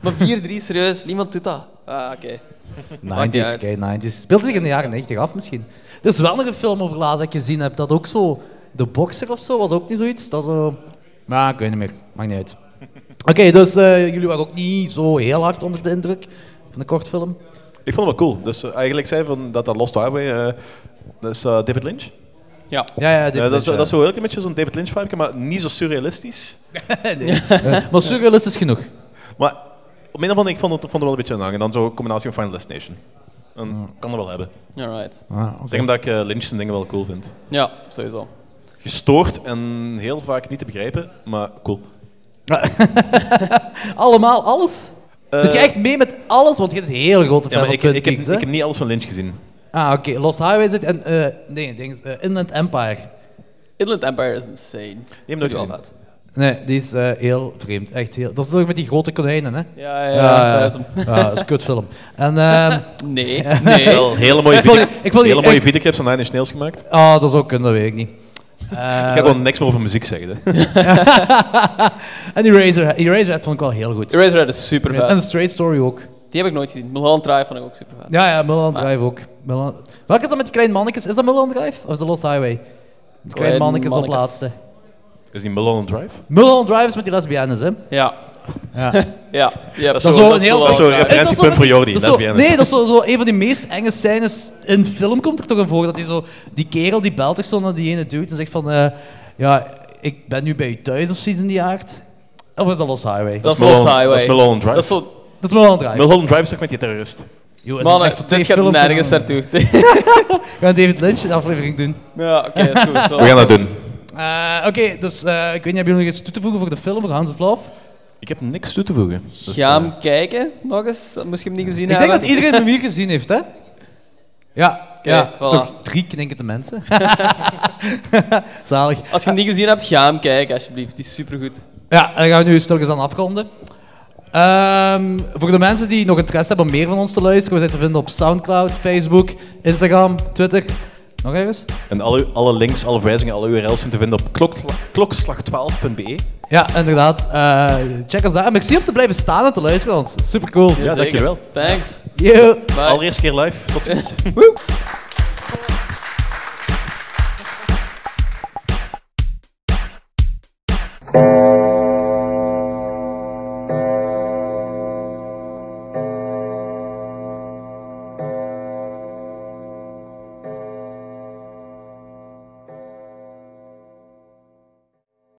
F: Maar 4-3, serieus, niemand doet dat. Ah, oké.
A: 90s,
F: uit.
A: kei 90s. Speelt zich in de jaren 90 af misschien. Er is wel nog een film over laatst dat ik gezien heb, dat ook zo... De Boxer of zo was ook niet zoiets. Dat zo... Maar ik weet niet meer. Maakt niet uit. Oké, dus eh, jullie waren ook niet zo heel hard onder de indruk van de kortfilm.
D: [LAUGHS] Ik vond het wel cool. Dus eh, eigenlijk zei van dat dat Lost Highway... eh, dat is eh, David Lynch.
F: Ja.
A: Ja, ja, dit
D: Ja, dat, is,
A: dit,
D: dat is zo heel een beetje zo'n David Lynch vibe, maar niet zo surrealistisch.
A: [LAUGHS] ja. Eh, Maar surrealistisch genoeg.
D: Maar op een of andere ik vond het, vond het wel een beetje een hang. En dan zo'n combinatie van Final Destination. En kan dat wel hebben.
F: Alright.
D: Zeg omdat ik eh, Lynch zijn dingen wel cool vind.
F: Ja, sowieso.
D: Gestoord en heel vaak niet te begrijpen, maar cool.
A: Allemaal, alles. Zit je
D: Eh,
A: echt mee met alles? Want je is een heel grote fan
D: Ja, maar
A: van
D: ik,
A: Twin
D: ik, heb,
A: Peaks, hè?
D: ik heb niet alles van Lynch gezien.
A: Ah, oké. Lost Highway zit en... eh, nee, ding is, eh, Inland Empire.
F: Inland Empire is insane.
D: Die heb ik
F: Doet
D: nooit gezien.
F: altijd.
A: Nee, die is eh, heel vreemd. Echt heel... Dat is toch met die grote konijnen, hè?
F: Ja, ja, ja. dat is hem.
A: Ja, dat is een kutfilm. En, ehm,
F: [LAUGHS] Nee,
D: [LAUGHS]
F: nee.
D: Wel, hele mooie,
A: Ik vond-
D: video-
A: ik vond die
D: hele mooie
A: echt-
D: videoclips van Nine Inch Nails gemaakt. Ik
A: ah, dat zou kunnen, dat weet ik niet. Eh,
D: ga gewoon niks meer over muziek zeggen. hè. [LAUGHS]
A: [LAUGHS] en die Eraserhead, Eraserhead vond ik wel heel goed.
F: Eraserhead is super
A: En
F: vet.
A: Straight Story ook.
F: Die heb ik nooit gezien. Mulholland Drive vond ik ook super vet.
A: Ja, ja, Mulholland Drive ook. Mulholland... Welke is dat met die kleine mannetjes? Is dat Mulholland Drive of is dat Lost Highway? De kleine
F: Kleine
A: mannetjes op
F: mannetjes.
A: laatste.
D: Is die Mulholland Drive?
A: Mulholland Drive is met die lesbianes, hè?
F: Ja.
A: [LAUGHS] Ja.
F: Ja. ja.
A: Dat is zo een heel-
D: Dat
A: Is dat
D: is zo'n
F: Mulholland Drive.
A: zo
D: referentiepunt
A: met
D: voor
A: die-
D: Jordi,
A: dat is zo-
D: lesbiennes.
A: Nee, dat is zo, zo een van die meest enge scènes in film komt er toch een voor. Dat die, zo, die kerel die belt toch zo naar die ene dude en zegt van... eh, ja, ik ben nu bij u thuis of zoiets in die aard. Of is dat Lost Highway?
F: Dat is
D: Mulholland-
F: Lost Highway.
D: dat is Mulholland Drive.
F: Dat is zo...
A: Dat is Mulholland Drive.
D: Mulholland Drive is toch met die terrorist?
A: Yo, is
F: Mannen,
A: echt zo twee
F: dit gaat
A: films
F: nergens
A: aan.
F: naartoe. [LAUGHS]
A: We gaan David Lynch een aflevering doen.
F: ja, oké, dat is goed. Zo.
D: We gaan dat doen.
A: Eh, Oké, dus eh, ik weet niet, hebben jullie nog iets toe te voegen voor de film, voor Hans of Love?
D: Ik heb niks toe te voegen. Dus,
F: Ga
D: eh,
F: hem kijken, nog eens. Dat Moest je hem niet gezien
A: Ik
F: hebben.
A: denk dat iedereen hem hier gezien heeft, hè? Ja, ja
F: voilà.
A: toch drie knikkende mensen. [LAUGHS] Zalig.
F: Als je hem niet gezien hebt, ga hem kijken, alsjeblieft. Die is supergoed.
A: Ja, dan gaan we nu stiljes aan afronden. Ehm, voor de mensen die nog interesse hebben om meer van ons te luisteren, we zijn te vinden op Soundcloud, Facebook, Instagram, Twitter. Nog ergens?
D: En alle, alle links, alle verwijzingen, alle URL's zijn te vinden op kloksla- klokslag12.be.
A: Ja, inderdaad. Eh, check ons daar. En merci om te blijven staan en te luisteren naar ons. Super cool.
D: Ja, dankjewel.
F: Thanks.
A: Yo.
F: Bye.
D: Allereerst keer live. Tot ziens.
G: Thank you.